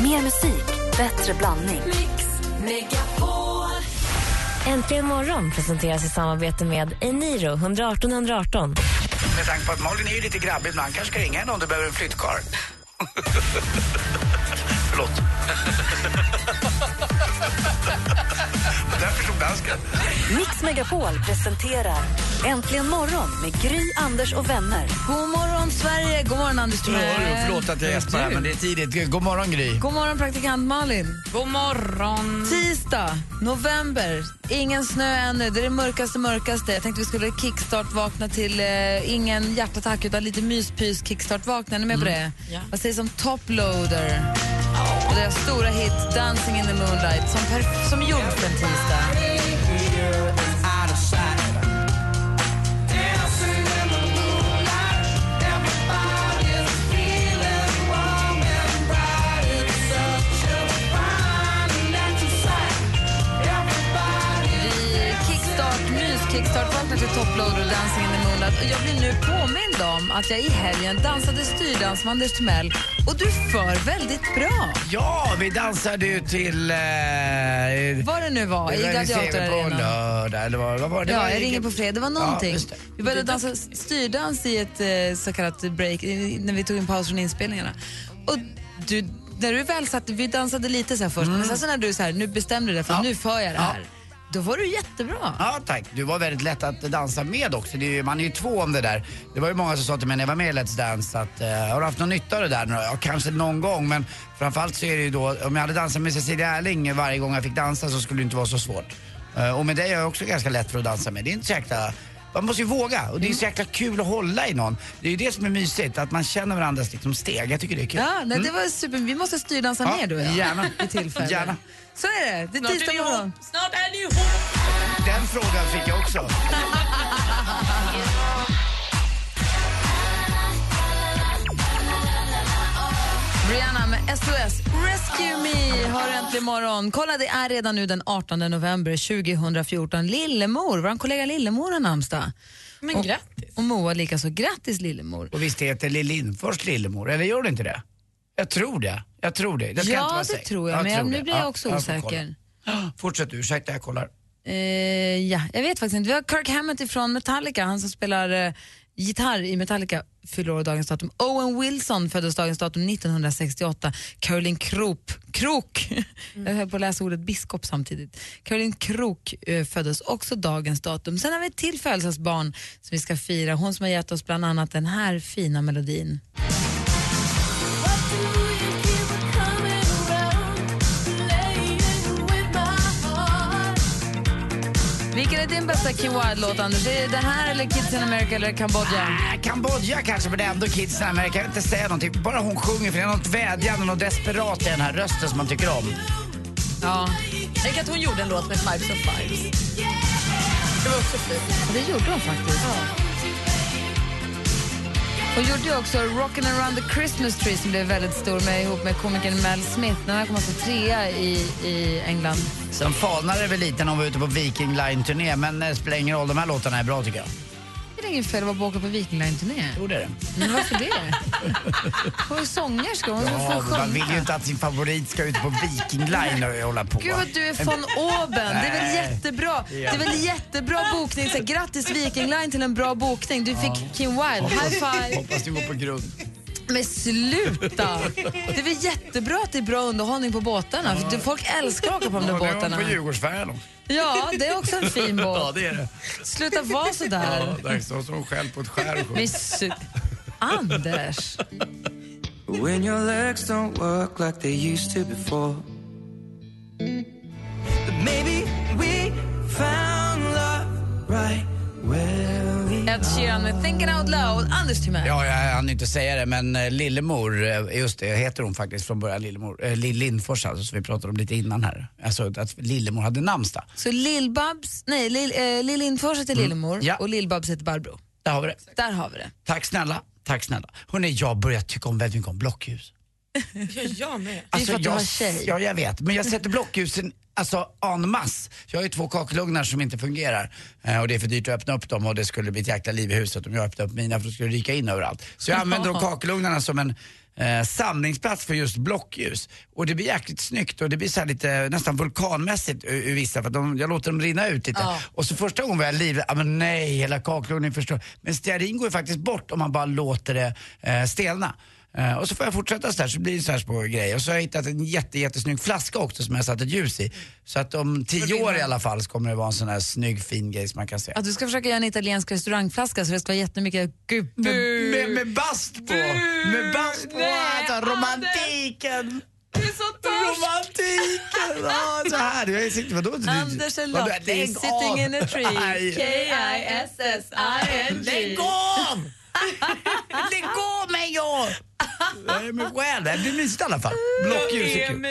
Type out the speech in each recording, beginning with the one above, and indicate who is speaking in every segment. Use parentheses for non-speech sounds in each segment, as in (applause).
Speaker 1: Mer musik, bättre blandning.
Speaker 2: Mix Megapol.
Speaker 3: Äntligen morgon presenteras i samarbete med Eniro 118 118.
Speaker 4: Med tanke på att Malin är ju lite grabbig ibland kanske ska ringa henne om du behöver en flyttkarl. Förlåt. Där förstod dansken.
Speaker 1: Mix Megapol presenterar Äntligen morgon med Gry, Anders och vänner.
Speaker 5: God morgon, Sverige! God morgon, Anders Timell!
Speaker 4: Förlåt att jag gäspar här, men det är tidigt. God morgon, Gry.
Speaker 5: God morgon, praktikant Malin!
Speaker 6: God morgon.
Speaker 5: Tisdag, november. Ingen snö ännu. Det är det mörkaste, mörkaste. Jag tänkte vi skulle kickstart-vakna till eh, ingen hjärtattack utan lite myspys kickstart-vakna. Är ni med
Speaker 4: Mm.
Speaker 5: på det?
Speaker 6: Ja.
Speaker 5: Vad sägs om Toploader? Och deras stora hit Dancing in the moonlight som, perf- som gjord för en tisdag. Vi kickstart, mys-kickstart-vaknar till Toploader och Dancing in the moonlight. Och jag blir nu påmind om att jag i helgen dansade styrdans med Anders Timell och du för väldigt bra.
Speaker 4: Ja, vi dansade ju till... Eh,
Speaker 5: Vad det nu var, i
Speaker 4: på
Speaker 5: gladiatorarenan.
Speaker 4: lördag, eller vad, vad var det? Det var-
Speaker 5: Ja, jag ringer på fredag. Det var någonting.
Speaker 4: Ja, just det.
Speaker 5: vi började dansa styrdans i ett eh, så kallat break, i- när vi tog en paus från inspelningarna. Och du, när du väl satt, vi dansade lite så här först, men sen så när du så här, nu bestämde du dig för
Speaker 4: Mm. Ja.
Speaker 5: nu för jag det
Speaker 4: Ja.
Speaker 5: här. Då var du jättebra.
Speaker 4: Ja tack, du var väldigt lätt att dansa med också. Det är ju, man är ju två om det där. Det var ju många som sa till mig när jag var med i Let's Dance att eh, har du haft någon nytta av det där? nu då?" Ja, kanske någon gång men framförallt så är det ju då, om jag hade dansat med Cecilia Erling varje gång jag fick dansa så skulle det inte vara så svårt. Eh, och med dig har jag också ganska lätt för att dansa med. Det är inte så jäkla man måste ju våga och det är så jäkla kul att hålla i någon. Det är ju det som är mysigt, att man känner varandras liksom steg. Jag tycker det är kul.
Speaker 5: Ja, nej, det var super. Vi måste styrdansa
Speaker 4: Mm. Ja,
Speaker 5: mer du och jag.
Speaker 4: gärna.
Speaker 5: Vid tillfälle.
Speaker 4: Gärna.
Speaker 5: Så är det. Det är
Speaker 6: Snart är
Speaker 5: tisdag
Speaker 6: ni
Speaker 5: morgon.
Speaker 6: ihop. Snart är ni ihop.
Speaker 4: Den frågan fick jag också.
Speaker 5: Rihanna med SOS Rescue Me har äntligen morgon. Kolla, det är redan nu den 18 november 2014. Lillemor, vår kollega Lillemor har namnsdag.
Speaker 6: Men
Speaker 5: Och-
Speaker 6: grattis.
Speaker 5: Och Moa likaså. Grattis Lillemor.
Speaker 4: Och visst heter Lill Lindfors lillemor, eller gör det inte det? Jag tror det. Jag tror det. det ska jag inte
Speaker 5: Ja,
Speaker 4: vara
Speaker 5: det
Speaker 4: säker.
Speaker 5: tror jag, men jag-
Speaker 4: tror
Speaker 5: nu
Speaker 4: det.
Speaker 5: blir jag också
Speaker 4: får
Speaker 5: osäker.
Speaker 4: kolla. (gasps) Fortsätt du, ursäkta jag kollar.
Speaker 5: Eh, ja, jag vet faktiskt inte. Vi har Kirk Hammett ifrån Metallica, han som spelar eh, gitarr i Metallica, fyller år dagens datum. Owen Wilson föddes dagens datum 1968. Caroline Krop, Krok, (laughs) jag höll på att läsa ordet biskop samtidigt. Caroline Krok eh, föddes också dagens datum. Sen har vi ett till födelsedagsbarn som vi ska fira. Hon som har gett oss bland annat den här fina melodin. Vilken är din bästa Kim Wilde-låt, Anders? Är det det här eller Kids in America eller Kambodja?
Speaker 4: Äh, Kambodja kanske, men det är ändå kidsen här. Men jag kan inte säga någonting. Bara hon sjunger, för det är något vädjande, något desperat i den här rösten som man tycker om.
Speaker 5: Ja,
Speaker 6: Tänk att hon gjorde en låt med Fives of Fives. Det var också fint.
Speaker 5: det gjorde hon faktiskt. Hon gjorde ju också Rockin' around the Christmas tree som blev väldigt stor med, ihop med komikern Mel Smith. Den här kom alltså trea i, i England.
Speaker 4: Sen falnade det väl lite när hon var ute på Viking Line-turné, men det spelar ingen roll. De här låtarna är bra tycker jag.
Speaker 5: Det är ingen fel att vara på åka på Viking Line-turné.
Speaker 4: Jo, det är det.
Speaker 5: Men varför det? Hon är sångerska, hon
Speaker 4: Ja,
Speaker 5: får
Speaker 4: men man
Speaker 5: sjunga.
Speaker 4: vill ju inte att sin favorit ska ut på Viking Line och hålla på.
Speaker 5: Gud vad du är von oben. Det är väl
Speaker 4: Nej.
Speaker 5: jättebra. Det är väl jättebra bokning. Så här, grattis Viking Line till en bra bokning. Du fick Kim Wilde. High five.
Speaker 4: Hoppas du går på grund.
Speaker 5: Men sluta! Det är väl jättebra att det är bra underhållning på båtarna? För folk älskar att åka på de där
Speaker 4: Och nu är hon
Speaker 5: båtarna.
Speaker 4: på Djurgårdsfärjan också.
Speaker 5: Ja, det är också en fin
Speaker 4: Ja,
Speaker 5: båt.
Speaker 4: det är det.
Speaker 5: Sluta vara så där.
Speaker 4: Där står hon själv på ett skär och
Speaker 5: Men su- Anders!
Speaker 7: When your legs don't work like they used to before. But maybe we found love right where we
Speaker 5: Ed Sheeran med Thinking Out Loud. Anders Timell.
Speaker 4: Ja, jag hann inte säga det, men eh, Lillemor, eh, just det, heter hon faktiskt från början, Lillemor, eh, Lill Lindfors alltså, som vi pratade om lite innan här. Alltså att Lillemor hade namnsdag.
Speaker 5: Så Lill-Babs, nej, Lill eh, Lill Lindfors heter Lillemor
Speaker 4: Mm. Ja.
Speaker 5: och Lill-Babs heter Barbro.
Speaker 4: Där har vi det.
Speaker 5: Där har vi det.
Speaker 4: Tack snälla, tack snälla. Hörrni, jag börjar tycka om väldigt mycket om
Speaker 5: (laughs)
Speaker 4: blockljus.
Speaker 6: Ja, jag med.
Speaker 5: Det är för att du
Speaker 4: jag,
Speaker 5: var tjej.
Speaker 4: Ja, jag vet. Men jag sätter blockljusen alltså, en masse. Jag har ju två kakelugnar som inte fungerar. Eh, och det är för dyrt att öppna upp dem och det skulle bli ett jäkla liv i huset om jag öppnade upp mina för det skulle ryka in överallt. Så jag använder då kakelugnarna som en eh, samlingsplats för just blockljus. Och det blir jäkligt snyggt och det blir så här lite nästan vulkanmässigt ur, ur vissa för att de, jag låter dem rinna ut lite. Och så första gången var jag livrädd, ah, men nej hela kakelugnen förstör. Men stearin går ju faktiskt bort om man bara låter det eh, stelna. Eh, Och så får jag fortsätta så här, så blir det så här små grejer. Och så har jag hittat en jätte, jättesnygg flaska också som jag satt ett ljus i. Så att om tio år i alla fall så kommer det vara en sån här snygg fin grej som man kan se.
Speaker 5: Att du ska försöka göra en italiensk restaurangflaska så det ska vara jättemycket gubbur.
Speaker 4: Med, med bast på! Med bast på! alltså, romantiken!
Speaker 5: Du är så
Speaker 4: Romantiken! Ja, så här. Jag sitter, vadå? Du-
Speaker 5: Anders and
Speaker 4: vadå?
Speaker 5: Lottie,
Speaker 4: Lägg av.
Speaker 5: sitting in a tree.
Speaker 4: Nej.
Speaker 5: K-I-S-S-I-N-G.
Speaker 4: Lägg av! Lägg av mig jag! Nej men själv, det blir mysigt i alla fall. Blockljus är kul.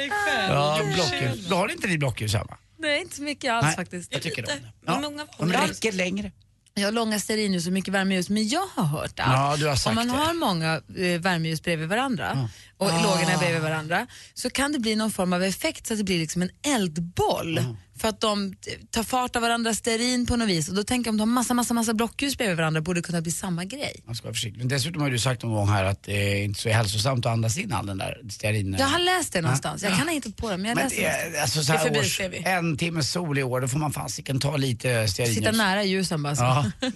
Speaker 4: Ja, blockljus. Då har ni inte ni blockljus hemma?
Speaker 5: Nej, inte så mycket alls faktiskt.
Speaker 4: jag tycker om det.
Speaker 6: Men
Speaker 4: Ja.
Speaker 6: många får
Speaker 4: De
Speaker 6: det.
Speaker 4: räcker längre.
Speaker 5: Jag har långa stearinljus och mycket värmeljus, men jag har hört att
Speaker 4: Ja, du har
Speaker 5: om
Speaker 4: sagt
Speaker 5: man
Speaker 4: det.
Speaker 5: har många eh, värmeljus bredvid varandra och lågorna
Speaker 4: Ah.
Speaker 5: bredvid varandra så kan det bli någon form av effekt så att det blir liksom en eldboll för att de t- tar fart av varandra, stearin på något vis och då tänker jag om de har massa, massa, massa blockljus bredvid varandra borde det kunna bli samma grej.
Speaker 4: Man ska vara försiktig. Men dessutom har du sagt någon gång här att det är inte så hälsosamt att andas in all den där stearinen.
Speaker 5: Jag har läst det någonstans, jag kan ha hittat på det men jag
Speaker 4: Men
Speaker 5: läste
Speaker 4: det
Speaker 5: det.
Speaker 4: är, alltså så
Speaker 6: Det är
Speaker 4: här
Speaker 6: förbi,
Speaker 4: års,
Speaker 6: ser vi.
Speaker 4: en timme sol i år, då får man fasiken ta lite stearinljus.
Speaker 5: Sitta nära ljusen bara så.
Speaker 4: Ja, (laughs)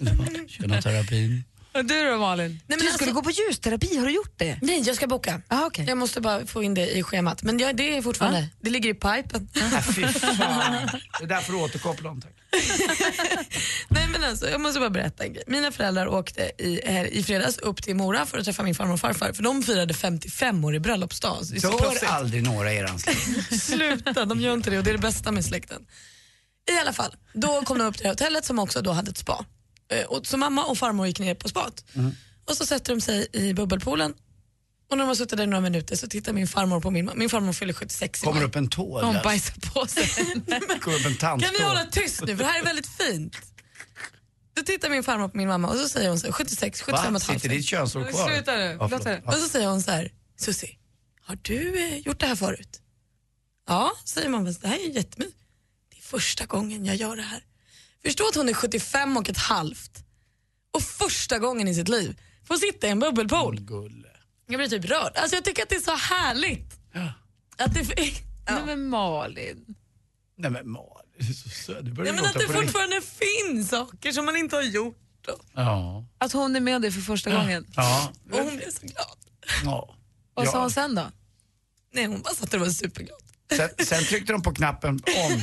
Speaker 4: kynoterapin.
Speaker 5: Och du då Malin?
Speaker 6: men
Speaker 5: du
Speaker 6: alltså-
Speaker 5: skulle gå på ljusterapi, har du gjort det?
Speaker 6: Nej, jag ska boka.
Speaker 5: Ah, okej. Ah.
Speaker 6: Jag måste bara få in det i schemat. Men jag, det är fortfarande, det ligger i pipen.
Speaker 4: Ja, fy fan. Det där får du återkoppla om tack.
Speaker 6: (laughs) Nej men alltså, jag måste bara berätta en grej. Mina föräldrar åkte i, här, i fredags upp till Mora för att träffa min farmor och farfar för de firade 55 år i bröllopsdag. Det är så
Speaker 4: Dör
Speaker 6: proffsigt.
Speaker 4: aldrig några i er anställning.
Speaker 6: Sluta, de gör inte det och det är det bästa med släkten. I alla fall, då kom de upp till hotellet som också då hade ett spa. Eh, Och, så mamma och farmor gick ner på spat.
Speaker 4: Mm.
Speaker 6: Och så sätter de sig i bubbelpoolen och när de har suttit där några minuter så tittar min farmor på min mamma. Min farmor fyller 76 i (laughs)
Speaker 4: Kommer
Speaker 6: maj.
Speaker 4: upp en tå
Speaker 6: Hon
Speaker 4: eller?
Speaker 6: bajsar på
Speaker 4: (laughs)
Speaker 6: sig.
Speaker 4: Kommer upp en tandtå.
Speaker 6: Kan vi hålla tyst nu för det här är väldigt fint. Då tittar min farmor på min mamma och så säger hon så här, 76, 75
Speaker 4: Va?
Speaker 6: och ett halvt.
Speaker 4: Sitter ditt könshår kvar?
Speaker 5: Sluta nu.
Speaker 4: Ja, förlåt.
Speaker 5: Låt det.
Speaker 6: Och så säger hon så här, Susie, har du eh, gjort det här förut? Ja, säger mamma, det här är jättemysigt. Det är första gången jag gör det här. Förstå att hon är 75 och ett halvt och första gången i sitt liv får sitta i en bubbelpool.
Speaker 4: Gulle.
Speaker 6: Jag blir typ rörd. Alltså jag tycker att det är så härligt. Att det,
Speaker 5: Nej men Malin.
Speaker 4: Nej men Malin, du är så söt. Du börjar
Speaker 6: ja, men
Speaker 4: gråta
Speaker 6: att det
Speaker 4: på riktigt.
Speaker 6: fortfarande finns saker som man inte har gjort. Och,
Speaker 4: Ja.
Speaker 5: Att hon är med dig för första gången.
Speaker 4: Ja.
Speaker 6: och hon blev så glad.
Speaker 4: ja.
Speaker 5: Vad sa
Speaker 4: Ja.
Speaker 5: hon
Speaker 4: (laughs)
Speaker 5: sen då?
Speaker 6: Nej, hon bara satt där och var superglad.
Speaker 4: Sen, sen tryckte de på knappen om.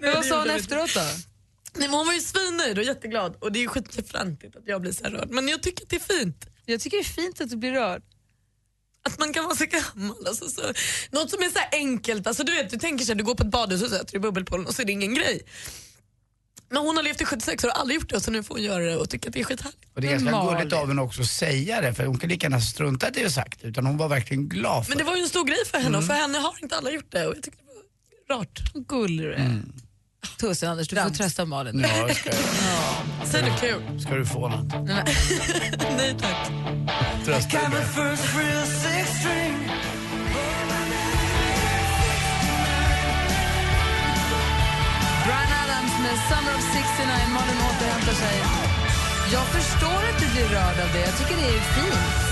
Speaker 5: Men vad sa hon efteråt då?
Speaker 6: Nej, men hon var ju svinnöjd och jätteglad och det är ju skitfrantigt att jag blir så här rörd. Men jag tycker att det är fint.
Speaker 5: Jag tycker det är fint att du blir rörd.
Speaker 6: Att man kan vara så gammal. Alltså, så. Något som är så här enkelt. Alltså, du vet, du tänker så här, du går på ett badhus och sätter i bubbelpoolen och så är det ingen grej. Men hon har levt i 76 år och aldrig gjort det så nu får hon göra det och tycker att det är skithärligt.
Speaker 4: Och det är
Speaker 5: Men
Speaker 4: ganska
Speaker 5: Malin.
Speaker 4: gulligt av henne också att säga det för hon kan lika gärna strunta i det jag sagt utan hon var verkligen glad för
Speaker 6: Men det var ju en stor grej för henne och för henne har inte alla gjort det och jag tycker det var rart.
Speaker 5: Gullig du är.
Speaker 4: Mm.
Speaker 5: Tusen Anders, du får trösta Malin.
Speaker 4: det. Ja, ska,
Speaker 6: Säg något kul.
Speaker 4: ska du få något.
Speaker 6: Nej tack.
Speaker 4: Trösta dig med.
Speaker 5: Brian Adams med Summer of 69. Malin återhämtar sig. Jag förstår att du blir rörd av det. Jag tycker det är fint.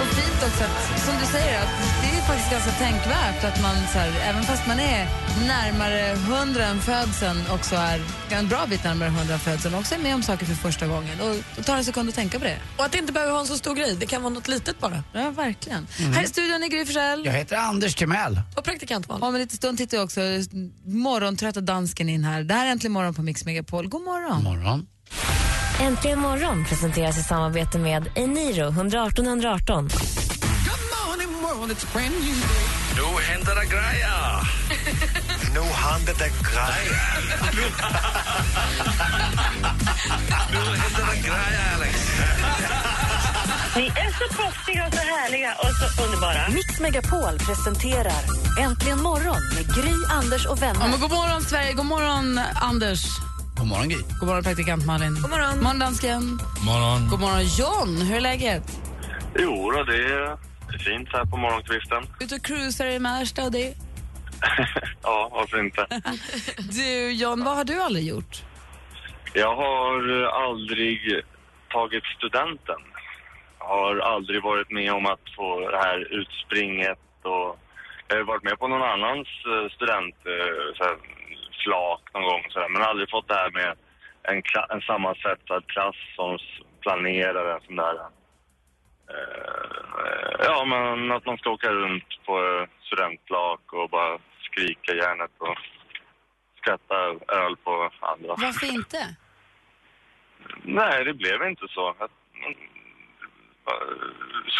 Speaker 5: Och fint också att, som du säger, att det är faktiskt ganska tänkvärt att man, så här, även fast man är närmare hundra än födseln, också är en bra bit närmare hundra än födseln, också är med om saker för första gången. Och, och tar en sekund att tänka på det.
Speaker 6: Och att det inte behöver vara en så stor grej. Det kan vara något litet bara.
Speaker 5: Ja, verkligen. Här i studion är Gry Forssell.
Speaker 4: Jag heter Anders Timell.
Speaker 6: Och praktikant Malin.
Speaker 5: Om en liten stund tittar jag också morgontrötta dansken in här. Det här är Äntligen morgon på Mix Megapol. God morgon.
Speaker 4: Morgon.
Speaker 3: Äntligen morgon presenteras i samarbete med Eniro 118 118.
Speaker 8: Nu händer det grejer! nu händer det grejer! nu händer det grejer, Alex!
Speaker 9: Ni är så proffsiga och så härliga och så underbara.
Speaker 1: Mix Megapol presenterar Äntligen morgon med Gry, Anders och
Speaker 5: Ja,
Speaker 1: vänner.
Speaker 5: men god morgon, Sverige. God morgon, Anders.
Speaker 4: God morgon Gry.
Speaker 5: God morgon, praktikant Malin. God
Speaker 6: morgon.
Speaker 5: morgon, dansken.
Speaker 10: morgon.
Speaker 5: God morgon, John. Hur är läget?
Speaker 11: Jo, då, det är fint så här på morgonkvisten.
Speaker 5: Ute och cruisar i Märsta och det.
Speaker 11: ja, varför inte?
Speaker 5: Du, John, vad har du aldrig gjort?
Speaker 11: Jag har eh, aldrig tagit studenten. har aldrig varit med om att få det här utspringet och jag har ju varit med på någon annans eh, student eh, så här, flak någon gång så här, men aldrig fått det här med en, kla- en sammansvetsad klass som s- planerar en sån där eh, ja men att man ska åka runt på eh, studentflak och bara skrika järnet och skratta öl på andra.
Speaker 5: Varför inte?
Speaker 11: Nej, det blev inte så. Att-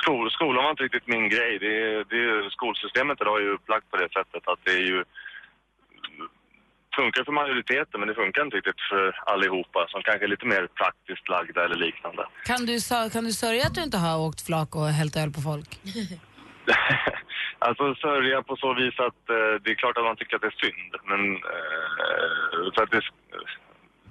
Speaker 11: Skol, skolan var inte riktigt min grej. Det, är- det, är- skolsystemet idag är ju upplagt på det sättet att det är ju funkar för majoriteten men det funkar inte riktigt för allihopa som kanske är lite mer praktiskt lagda eller liknande.
Speaker 5: Kan du, sör- kan du sörja att du inte har åkt flak och hällt öl på folk?
Speaker 11: Alltså sörja på så vis att eh, det är klart att man tycker att det är synd men eh, för att det,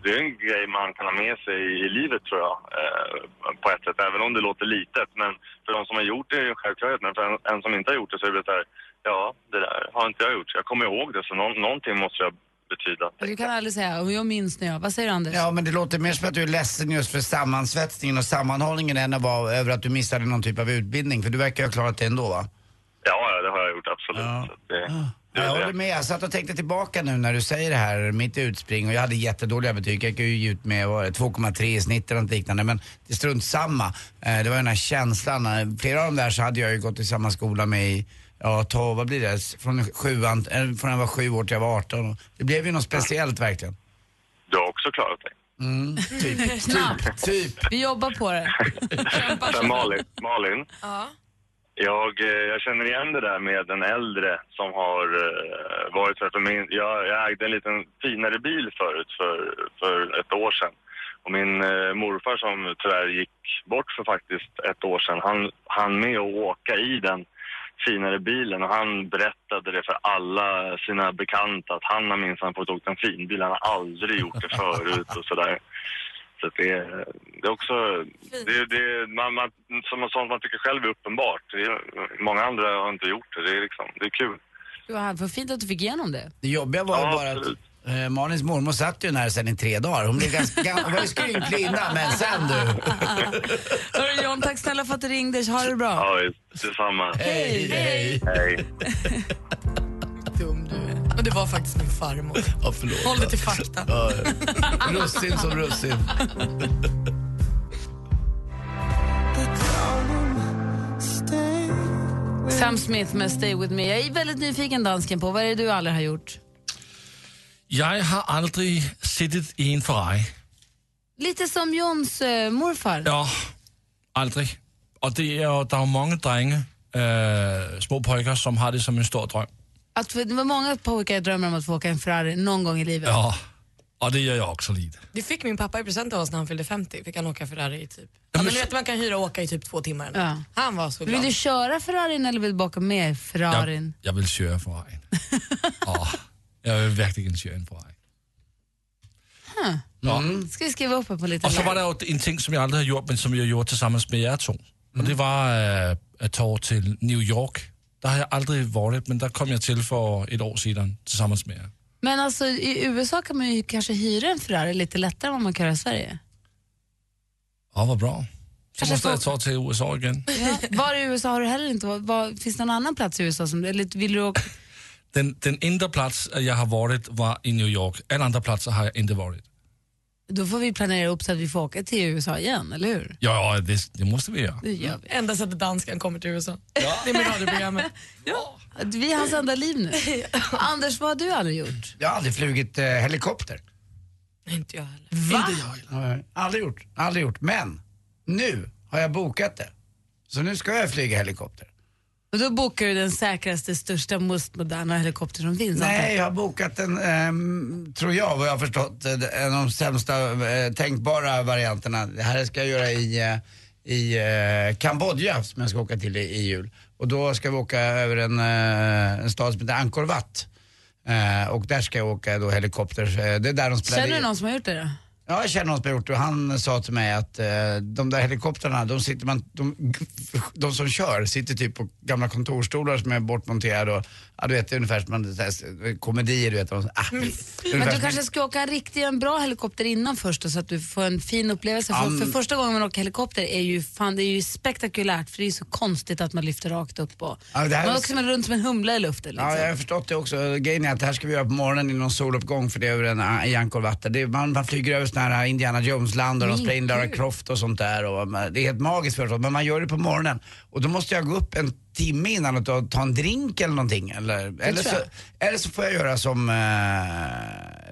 Speaker 11: det är en grej man kan ha med sig i livet tror jag eh, på ett sätt även om det låter litet men för de som har gjort det är det en självklarhet men för en, en som inte har gjort det så är det så här ja det där har inte jag gjort jag kommer ihåg det så nå, någonting måste jag betyda.
Speaker 5: Du kan aldrig säga, "Om jag minns när jag... Vad säger du Anders?
Speaker 4: Ja, men det låter mer som att du är ledsen just för sammansvetsningen och sammanhållningen än att vara över att du missade någon typ av utbildning. För du verkar ju ha klarat det ändå va? Ah.
Speaker 11: Ja, ja, det har jag gjort absolut. Så att det, det,
Speaker 4: Ja, Jag
Speaker 11: är
Speaker 4: håller
Speaker 11: det.
Speaker 4: med. Jag satt och tänkte tillbaka nu när du säger det här, mitt utspring, och jag hade jättedåliga betyg. Jag gick ju ut med vad var det, 2,3 i snitt eller något liknande, men det är strunt samma. Eh, Det var den här känslan. Eh, Flera av dem där så hade jag ju gått i samma skola med i, ja, ta, vad blir det, från, sjuan, eh, från jag var sju år till jag var 18. Det blev ju något speciellt verkligen.
Speaker 11: Du har också klarat dig.
Speaker 4: Mm, typ. Snabbt. Typ.
Speaker 5: Vi jobbar på det.
Speaker 11: Sen Malin, Malin
Speaker 6: Ja.
Speaker 11: Jag, eh, jag känner igen det där med den äldre som har eh, varit så här, för min, jag, jag ägde en liten finare bil förut för, för ett år sedan. Och min eh, morfar som tyvärr gick bort för faktiskt ett år sedan, han, han med att åka i den finare bilen och han berättade det för alla sina bekanta att han har minsann fått åkt en fin bil, han har aldrig gjort det förut och sådär. Så att det, är- det är också, det, det, man, man, som sånt man tycker själv är uppenbart. Det, är- många andra har inte gjort det. Det är, liksom, det är kul.
Speaker 5: Du har- Vad fint att du fick igenom det.
Speaker 4: Det jobbiga var ju
Speaker 11: Ja,
Speaker 4: bara
Speaker 11: absolut.
Speaker 4: att eh, Malins mormor satt ju nära sen i tre dagar. Hon blev ganska, gan- hon var ju skrynklig innan, men sen du.
Speaker 5: Hörru John, tack snälla för att du ringde. Ha det bra.
Speaker 11: Ja, visst. detsamma.
Speaker 4: Hej, hej.
Speaker 11: Hej.
Speaker 6: Dum du är. Och det var faktiskt min farmor.
Speaker 4: Ja, förlåt.
Speaker 6: Håll dig till fakta.
Speaker 4: Ja, ja. russin som russin.
Speaker 5: Sam Smith med Stay With Me. Jag är väldigt nyfiken dansken på vad är det du aldrig har gjort?
Speaker 10: Jeg har aldrig sittet i en Ferrari.
Speaker 5: Lite som Johns eh, morfar.
Speaker 10: Ja, aldrig. Og det er jo, der er jo mange drenge, øh, små pojker, som har det som en stor drøm.
Speaker 5: Att, det var många pojkar drömmer om att få åka en Ferrari någon gång i livet.
Speaker 10: Ja, og det gør jeg også lidt.
Speaker 6: Det fick min pappa i present av oss när han fyllde 50. Fick han åka Ferrari i typ... Ja, men du vet, man kan hyra och åka i typ två timmar.
Speaker 5: Ja.
Speaker 6: Han var så
Speaker 5: Vill
Speaker 6: glad.
Speaker 5: du köra Ferrarin eller vill du baka med Ferrarin?
Speaker 10: Jeg, jeg vil
Speaker 5: (laughs)
Speaker 10: køre Ferrarien. Åh, jeg vil virkelig gerne køre en Ferrari. Nå.
Speaker 5: Ska vi skriva upp det på lite?
Speaker 10: Og Mm. så var der jo en ting, som jeg aldrig har gjort, men som jeg gjorde sammen med jer to. Og
Speaker 5: Mhm.
Speaker 10: det var øh, at tage til New York. Der har jeg aldrig været, men der kom jeg til for et år siden sammen med jer.
Speaker 5: Men alltså i USA kan man ju kanske hyra en Ferrari lite lättare än vad man kan göra i Sverige.
Speaker 10: Åh, hvor bra. Så
Speaker 5: Altså,
Speaker 10: måste
Speaker 5: for-
Speaker 10: jeg tage til USA igen.
Speaker 5: Var i USA har du heller inte var, var, Finns det någon annan plats i USA som eller vill du åka?
Speaker 10: Den, den enda plats eh, jag har varit var i New York. Alla andra platser har jag inte varit.
Speaker 5: Då får vi planera upp så att vi får åka till USA igen, eller hur?
Speaker 10: Ja, ja, det, det måste vi göra.
Speaker 5: Det gör vi.
Speaker 6: Enda sättet danskan kommer till USA. Det är med radioprogrammet.
Speaker 5: Att Vi är hans enda liv nu. Anders, vad har du aldrig gjort?
Speaker 4: Jag har aldrig flugit eh, helikopter.
Speaker 6: Nej, inte jag heller.
Speaker 5: Va?
Speaker 4: Nej, Aldrig gjort, aldrig gjort. Men nu har jag bokat det. Så nu ska jag flyga helikopter.
Speaker 5: Och då bokar du den säkraste, största, mest moderna helikopter som finns. antar
Speaker 4: Nej,
Speaker 5: jag.
Speaker 4: jag har bokat en, ehm, tror jag vad jag har förstått, eh, en av de sämsta eh, tänkbara varianterna. Det här ska jag göra i, eh, i eh, Kambodja som jag ska åka till i, i jul. Och då ska vi åka över en, eh, en stad som heter Angkor Wat. Eh, och där ska jag åka då helikopter. Eh, Det är där de spelar
Speaker 5: Känner du
Speaker 4: in-
Speaker 5: någon som har gjort det då?
Speaker 4: Ja, jag känner någon som har gjort det och han sa till mig att eh, de där helikoptrarna, de, sitter man, de, de som kör sitter typ på gamla kontorstolar som är bortmonterade och ja, du vet, det är ungefär som man, så här, komedier du vet. Och, så, ah,
Speaker 5: Men du kanske ska åka en riktig, en bra helikopter innan först då, så att du får en fin upplevelse. För,
Speaker 4: Am-
Speaker 5: för första gången man åker helikopter är ju, fan, det är ju spektakulärt för det är ju så konstigt att man lyfter rakt upp och
Speaker 4: Ja, det här
Speaker 5: man
Speaker 4: är-
Speaker 5: åker som en, runt som en humla i luften. Liksom.
Speaker 4: Ja, jag har förstått det också. Grejen är att det här ska vi göra på morgonen i någon soluppgång för det är över en ah, i Ankorvatten. Det är- Man, man flyger över sådana här Indiana Jones-land och de
Speaker 5: Mm,
Speaker 4: spelar in Lara
Speaker 5: kul.
Speaker 4: Croft och sånt där. Och, man- det är helt magiskt förstås, men man gör det på morgonen. Och då måste jag gå upp en timme innan och ta, ta en drink eller någonting. Eller, eller, så,
Speaker 5: tror
Speaker 4: eller så får jag göra som eh,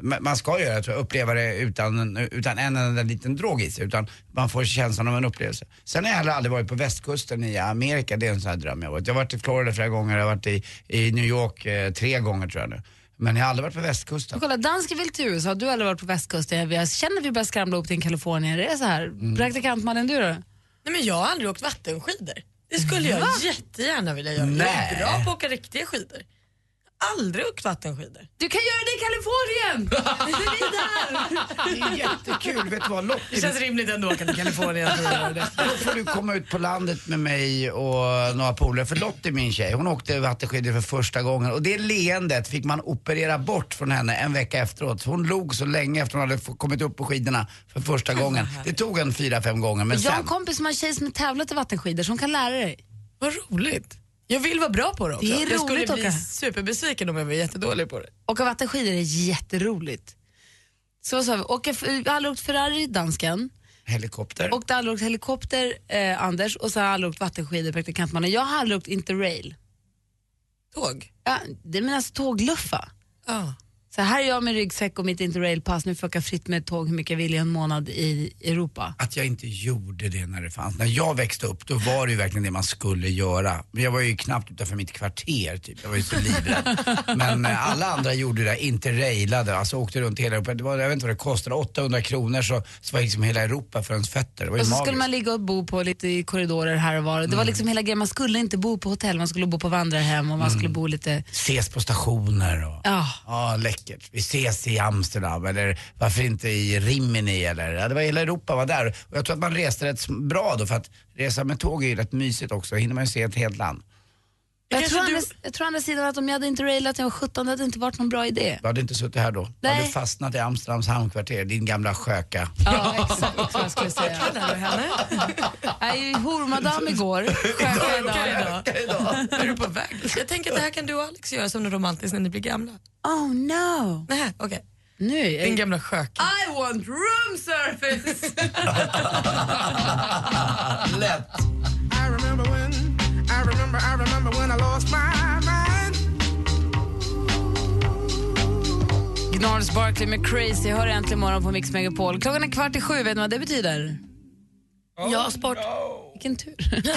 Speaker 4: ma- man ska göra, tror jag, uppleva det utan, utan en enda liten drog i sig. Utan man får känslan av en upplevelse. Sen har jag heller aldrig varit på västkusten i Amerika, det är en sån här dröm jag har varit. Jag har varit i Florida flera gånger, jag har varit i, i New York eh, tre gånger tror jag nu. Men jag har aldrig varit på västkusten.
Speaker 5: Men kolla, dansken vill till USA, du har aldrig varit på västkusten. Jag känner vi börjar skramla upp till en Kalifornienresa här.
Speaker 4: Mm.
Speaker 5: Praktikantmannen, du då?
Speaker 6: Nej, men jag har aldrig åkt vattenskidor. Det skulle jag
Speaker 5: Va?
Speaker 6: jättegärna vilja göra. Jag
Speaker 5: Nej.
Speaker 6: är bra på att åka riktiga skidor. Aldrig åkt vattenskidor.
Speaker 5: Du kan göra det i
Speaker 4: (laughs)
Speaker 5: Kalifornien! Det är vi där!
Speaker 4: Det är jättekul, vet du vad? Lottie,
Speaker 6: Det känns rimligt ändå att åka till Kalifornien. för att göra det.
Speaker 4: Då får du komma ut på landet med mig och några polare. För Lottie, min tjej, hon åkte vattenskidor för första gången. Och det leendet fick man operera bort från henne en vecka efteråt. Hon log så länge efter hon hade f- kommit upp på skidorna för första gången. Det tog en fyra, fem gånger, men
Speaker 5: Jag har
Speaker 4: sen...
Speaker 5: en kompis som har en tjej som har tävlat i vattenskidor som kan lära dig.
Speaker 6: (laughs) Vad roligt. Jag vill vara bra på det också.
Speaker 5: Det är
Speaker 6: jag skulle
Speaker 5: roligt att
Speaker 6: bli
Speaker 5: åka.
Speaker 6: superbesviken om jag var jättedålig på det.
Speaker 5: Åka vattenskidor är jätteroligt. Så vad sa vi? Åka, jag har aldrig åkt Ferrari, dansken.
Speaker 4: Helikopter.
Speaker 5: Åkte aldrig åkt helikopter, eh, Anders. Och så har jag aldrig åkt vattenskidor, praktikantmannen. Jag har aldrig åkt interrail.
Speaker 6: Tåg?
Speaker 5: Ja, det menas alltså tågluffa.
Speaker 6: Ja.
Speaker 5: Så här är jag med ryggsäck och mitt interrailpass. Nu får jag åka fritt med tåg hur mycket jag vill i en månad i Europa.
Speaker 4: Att jag inte gjorde det när det fanns. När jag växte upp, då var det ju verkligen det man skulle göra. Men jag var ju knappt utanför mitt kvarter, typ. Jag var ju så livrädd. Men eh, alla andra gjorde det, inte railade. Alltså åkte runt hela Europa. Det var, jag vet inte vad det kostade, 800 kronor så, så var liksom hela Europa för ens fötter. Det var ju
Speaker 5: Och så
Speaker 4: magiskt.
Speaker 5: skulle man ligga och bo på lite i korridorer här och var. Det var liksom hela grejen, man skulle inte bo på hotell, man skulle bo på vandrarhem och man skulle bo lite...
Speaker 4: Ses på stationer och...
Speaker 5: Ja.
Speaker 4: Ja, läckert. Vi ses i Amsterdam eller varför inte i Rimini eller... Ja, det var hela Europa var där. Och jag tror att man reste rätt bra då för att resa med tåg är ju rätt mysigt också. Hinner man ju se ett helt land.
Speaker 5: Jag tror, andra, jag tror andra sidan att om jag hade interrailat när jag var 17 hade det inte varit någon bra idé.
Speaker 4: Du hade inte suttit här då. Du
Speaker 5: Nej.
Speaker 4: hade fastnat i Amsterdams hamnkvarter, din gamla sköka.
Speaker 5: Ja, exakt vad jag skulle säga. Jag är ju hormadam igår, sköka idag.
Speaker 6: Är du på väg? Jag tänker att det här kan du och Alex göra som något romantiskt när ni blir gamla.
Speaker 5: Oh no!
Speaker 6: Nej, okej.
Speaker 5: Nu är
Speaker 6: Din gamla sköka.
Speaker 5: I want room service!
Speaker 4: Lätt.
Speaker 7: I remember when, I remember, I remember when I lost my mind.
Speaker 5: (laughs) Gnarls Barkley med Crazy hör äntligen morgon på Mix Megapol. Klockan är kvart i sju, vet ni vad det betyder? ja, sport. Vilken tur. (laughs)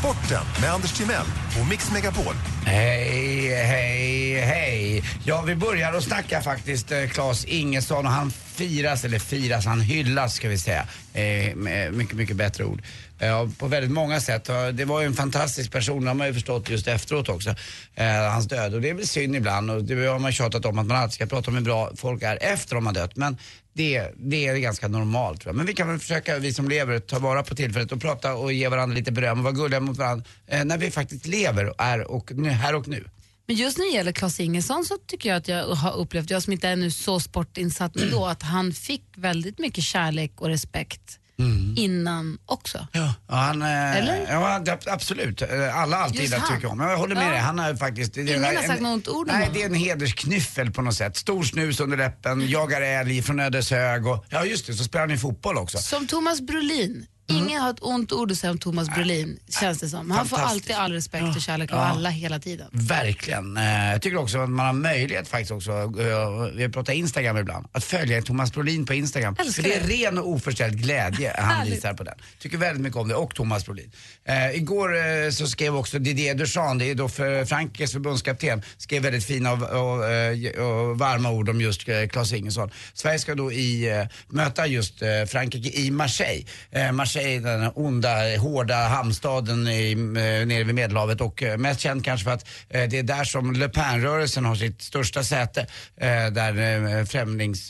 Speaker 8: Sporten med Anders Timell och Mix Megapol.
Speaker 4: Hej, hej, hej. Ja, vi börjar att snacka faktiskt eh, Claes Ingesson och han firas, eller firas, han hyllas ska vi säga. Eh, med mycket, mycket bättre ord. Eh, och på väldigt många sätt. Och Det var ju en fantastisk person, det har man ju förstått just efteråt också. Eh, hans död. Och det är väl synd ibland och det har man tjatat om att man alltid ska prata om hur bra folk är efter de har dött. Men det, det är ganska normalt. tror jag. Men vi kan väl försöka, vi som lever, ta vara på tillfället och prata och ge varandra lite beröm och vara gulliga mot varandra eh, när vi faktiskt lever och är och nu, här och nu.
Speaker 5: Men just när det gäller Claes Ingesson så tycker jag att jag har upplevt, jag som inte är nu så sportinsatt ändå, att han fick väldigt mycket kärlek och respekt
Speaker 4: Mm.
Speaker 5: innan också.
Speaker 4: Ja, han, eh,
Speaker 5: Eller?
Speaker 4: Ja, det- absolut. Eh, Alla alltid
Speaker 5: Just
Speaker 4: att
Speaker 5: han.
Speaker 4: tycka om. Jag håller med
Speaker 5: Ja.
Speaker 4: dig. Han har ju faktiskt... det är
Speaker 5: Ingen
Speaker 4: en-
Speaker 5: har sagt
Speaker 4: en-
Speaker 5: något ord om
Speaker 4: Nej,
Speaker 5: honom.
Speaker 4: det är en hedersknyffel på något sätt. Stor snus under läppen, jagar älg från Ödeshög och... Ja, just det. Så spelar han ju fotboll också.
Speaker 5: Som Thomas Brolin.
Speaker 4: Mm.
Speaker 5: Ingen har ett ont ord att säga om Thomas Brolin, känns det som. Han får
Speaker 4: Fantastiskt.
Speaker 5: alltid all respekt och kärlek av
Speaker 4: Ja.
Speaker 5: alla hela tiden.
Speaker 4: Verkligen. Eh, Jag tycker också att man har möjlighet faktiskt också, eh, vi pratar Instagram ibland, att följa Thomas Brolin på Instagram.
Speaker 5: Älskar
Speaker 4: För det är
Speaker 5: det.
Speaker 4: ren och oförställd glädje han
Speaker 5: Härligt.
Speaker 4: visar på den. Tycker väldigt mycket om det och Thomas Brolin. Eh, igår eh, så skrev också Didier Duchan, det är då för Frankrikes förbundskapten, skrev väldigt fina och, och, eh, och varma ord om just eh, Claes Ingesson. Sverige ska då i, eh, möta just eh, Frankrike i Marseille. Eh, Marseille sig i den här onda, hårda hamnstaden i, eh, nere vid Medelhavet och eh, mest känd kanske för att eh, det är där som Le Pen-rörelsen har sitt största säte. Eh, där eh,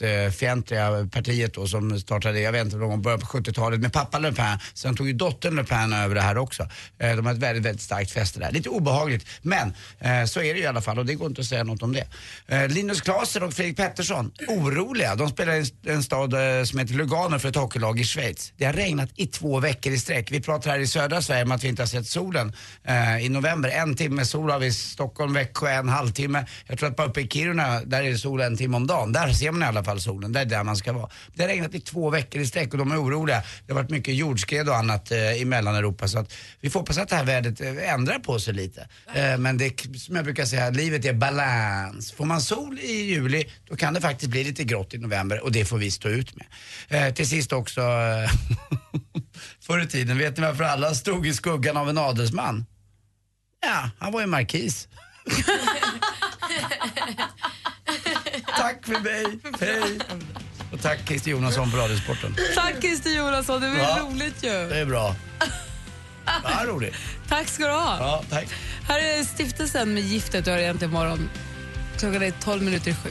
Speaker 4: främlingsfientliga partiet då som startade, jag vet inte, de började på 70-talet med pappa Le Pen. Sen tog ju dottern Le Pen över det här också. Eh, de har ett väldigt, väldigt starkt fäste där. Lite obehagligt, men eh, så är det ju i alla fall och det går inte att säga något om det. Eh, Linus Klaser och Fredrik Pettersson, oroliga. De spelar i en- en stad eh, som heter Lugano för ett hockeylag i Schweiz. Det har regnat i två veckor i sträck. Vi pratar här i södra Sverige om att vi inte har sett solen eh, i november. En timme sol har vi i Stockholm, Växjö, en halvtimme. Jag tror att bara uppe i Kiruna, där är det sol en timme om dagen. Där ser man i alla fall solen. Det är där man ska vara. Det har regnat i två veckor i sträck och de är oroliga. Det har varit mycket jordskred och annat eh, i Mellaneuropa så att vi får hoppas att det här vädret eh, ändrar på sig lite. Eh, men det, är- som jag brukar säga, livet är balans. Får man sol i juli, då kan det faktiskt bli lite grått i november och det får vi stå ut med. Eh, till sist också, eh, (laughs) förr i tiden, vet ni varför alla stod i skuggan av en adelsman? Ja, han var ju markis. Tack för mig, hej! Och tack Christer Jonasson för Radiosporten.
Speaker 2: Tack Christer Jonasson, det var
Speaker 4: Ja.
Speaker 2: roligt ju.
Speaker 4: Det är bra. Ja, roligt.
Speaker 5: Tack ska du ha.
Speaker 4: Ja, tack.
Speaker 5: Här är stiftelsen med giftet du har egentligen imorgon. Klockan är 12 minuter i sju.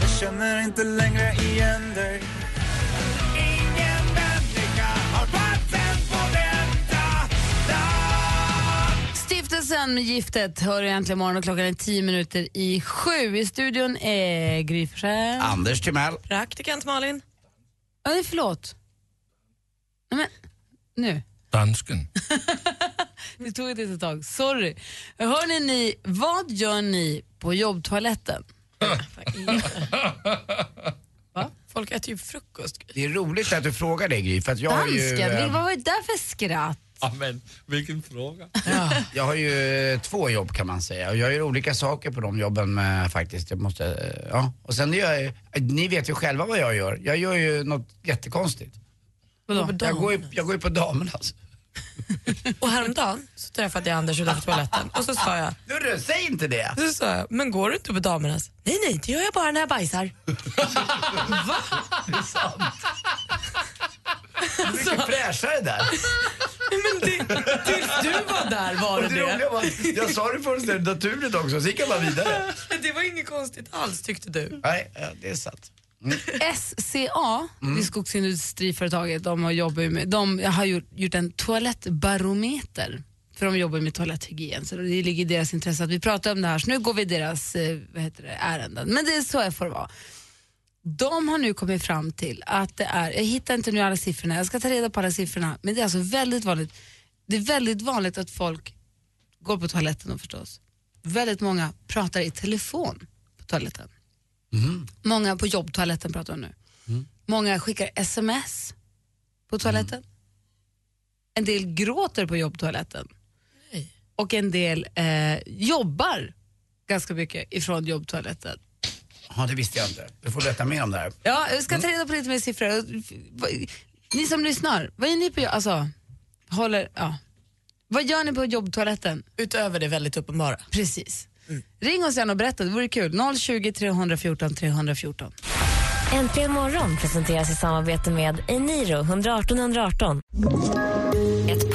Speaker 7: Jag känner inte längre igen dig Ingen människa har patent på detta
Speaker 5: Stiftelsen med giftet hör du egentligen imorgon och klockan är 10 minuter i sju. I studion är Gry Forssell.
Speaker 4: Anders Timell.
Speaker 6: Praktikant Malin.
Speaker 5: Ja, nej, förlåt. Nej, men nu.
Speaker 10: Dansken.
Speaker 5: Det tog ett litet tag. Sorry. Hörrni, ni, vad gör ni
Speaker 6: (laughs)
Speaker 5: på jobbtoaletten?
Speaker 6: Folk äter ju frukost.
Speaker 4: Det är roligt att du frågar det Gry, för att jag har ju...
Speaker 5: Dansken,
Speaker 4: eh,
Speaker 5: vad var det där för skratt?
Speaker 10: Ja, men vilken fråga.
Speaker 4: Jag har ju eh, två jobb kan man säga och jag gör olika saker på de jobben eh, faktiskt. Jag måste, eh, ja. Och sen gör jag, ju- ni vet ju själva vad jag gör. Jag gör ju något jättekonstigt. Jag går ju, jag går ju på damernas.
Speaker 6: Och häromdagen så träffade jag Anders utanför toaletten och så sa jag,
Speaker 4: Du, säg inte det!
Speaker 6: så sa jag men går du inte på damernas? Nej, nej, det gör jag bara när jag bajsar. Va?
Speaker 4: Det är mycket fräschare där.
Speaker 6: Men det, tills du var där var det
Speaker 4: Och det
Speaker 6: det.
Speaker 4: roliga var att jag sa det fullständigt naturligt också, så gick jag bara vidare.
Speaker 6: Det var inget konstigt alls tyckte du.
Speaker 4: Nej, eh, det är sant. Mm.
Speaker 5: SCA, det är skogsindustriföretaget, de har, jobbat med, de har gjort, gjort en toalettbarometer. För de jobbar med toaletthygien, så det ligger i deras intresse att vi pratar om det här. Så nu går vi i deras eh, vad heter det, ärenden. Men det är så jag får vara. De har nu kommit fram till att det är, jag hittar inte nu alla siffrorna, jag ska ta reda på alla siffrorna, men det är alltså väldigt vanligt. Det är väldigt vanligt att folk går på toaletten då förstås. Väldigt många pratar i telefon på toaletten. Många på jobbtoaletten pratar om nu.
Speaker 2: Mm.
Speaker 5: Många skickar sms på toaletten.
Speaker 6: Mm.
Speaker 5: En del gråter på jobbtoaletten. Och en del eh, jobbar ganska mycket ifrån jobbtoaletten.
Speaker 4: Ja, det visste jag inte. Du får berätta mer om det här.
Speaker 5: Ja, jag ska ta reda på lite mer siffror. Och f- vad- Ni som lyssnar, vad är ni på alltså, håller, ja. Vad gör ni på jobbtoaletten?
Speaker 6: Utöver det väldigt uppenbara. Mm.
Speaker 5: Precis. Ring oss gärna och berätta, det vore kul. 020 314 314.
Speaker 3: Äntligen morgon presenteras i samarbete med Eniro 118 118. Ett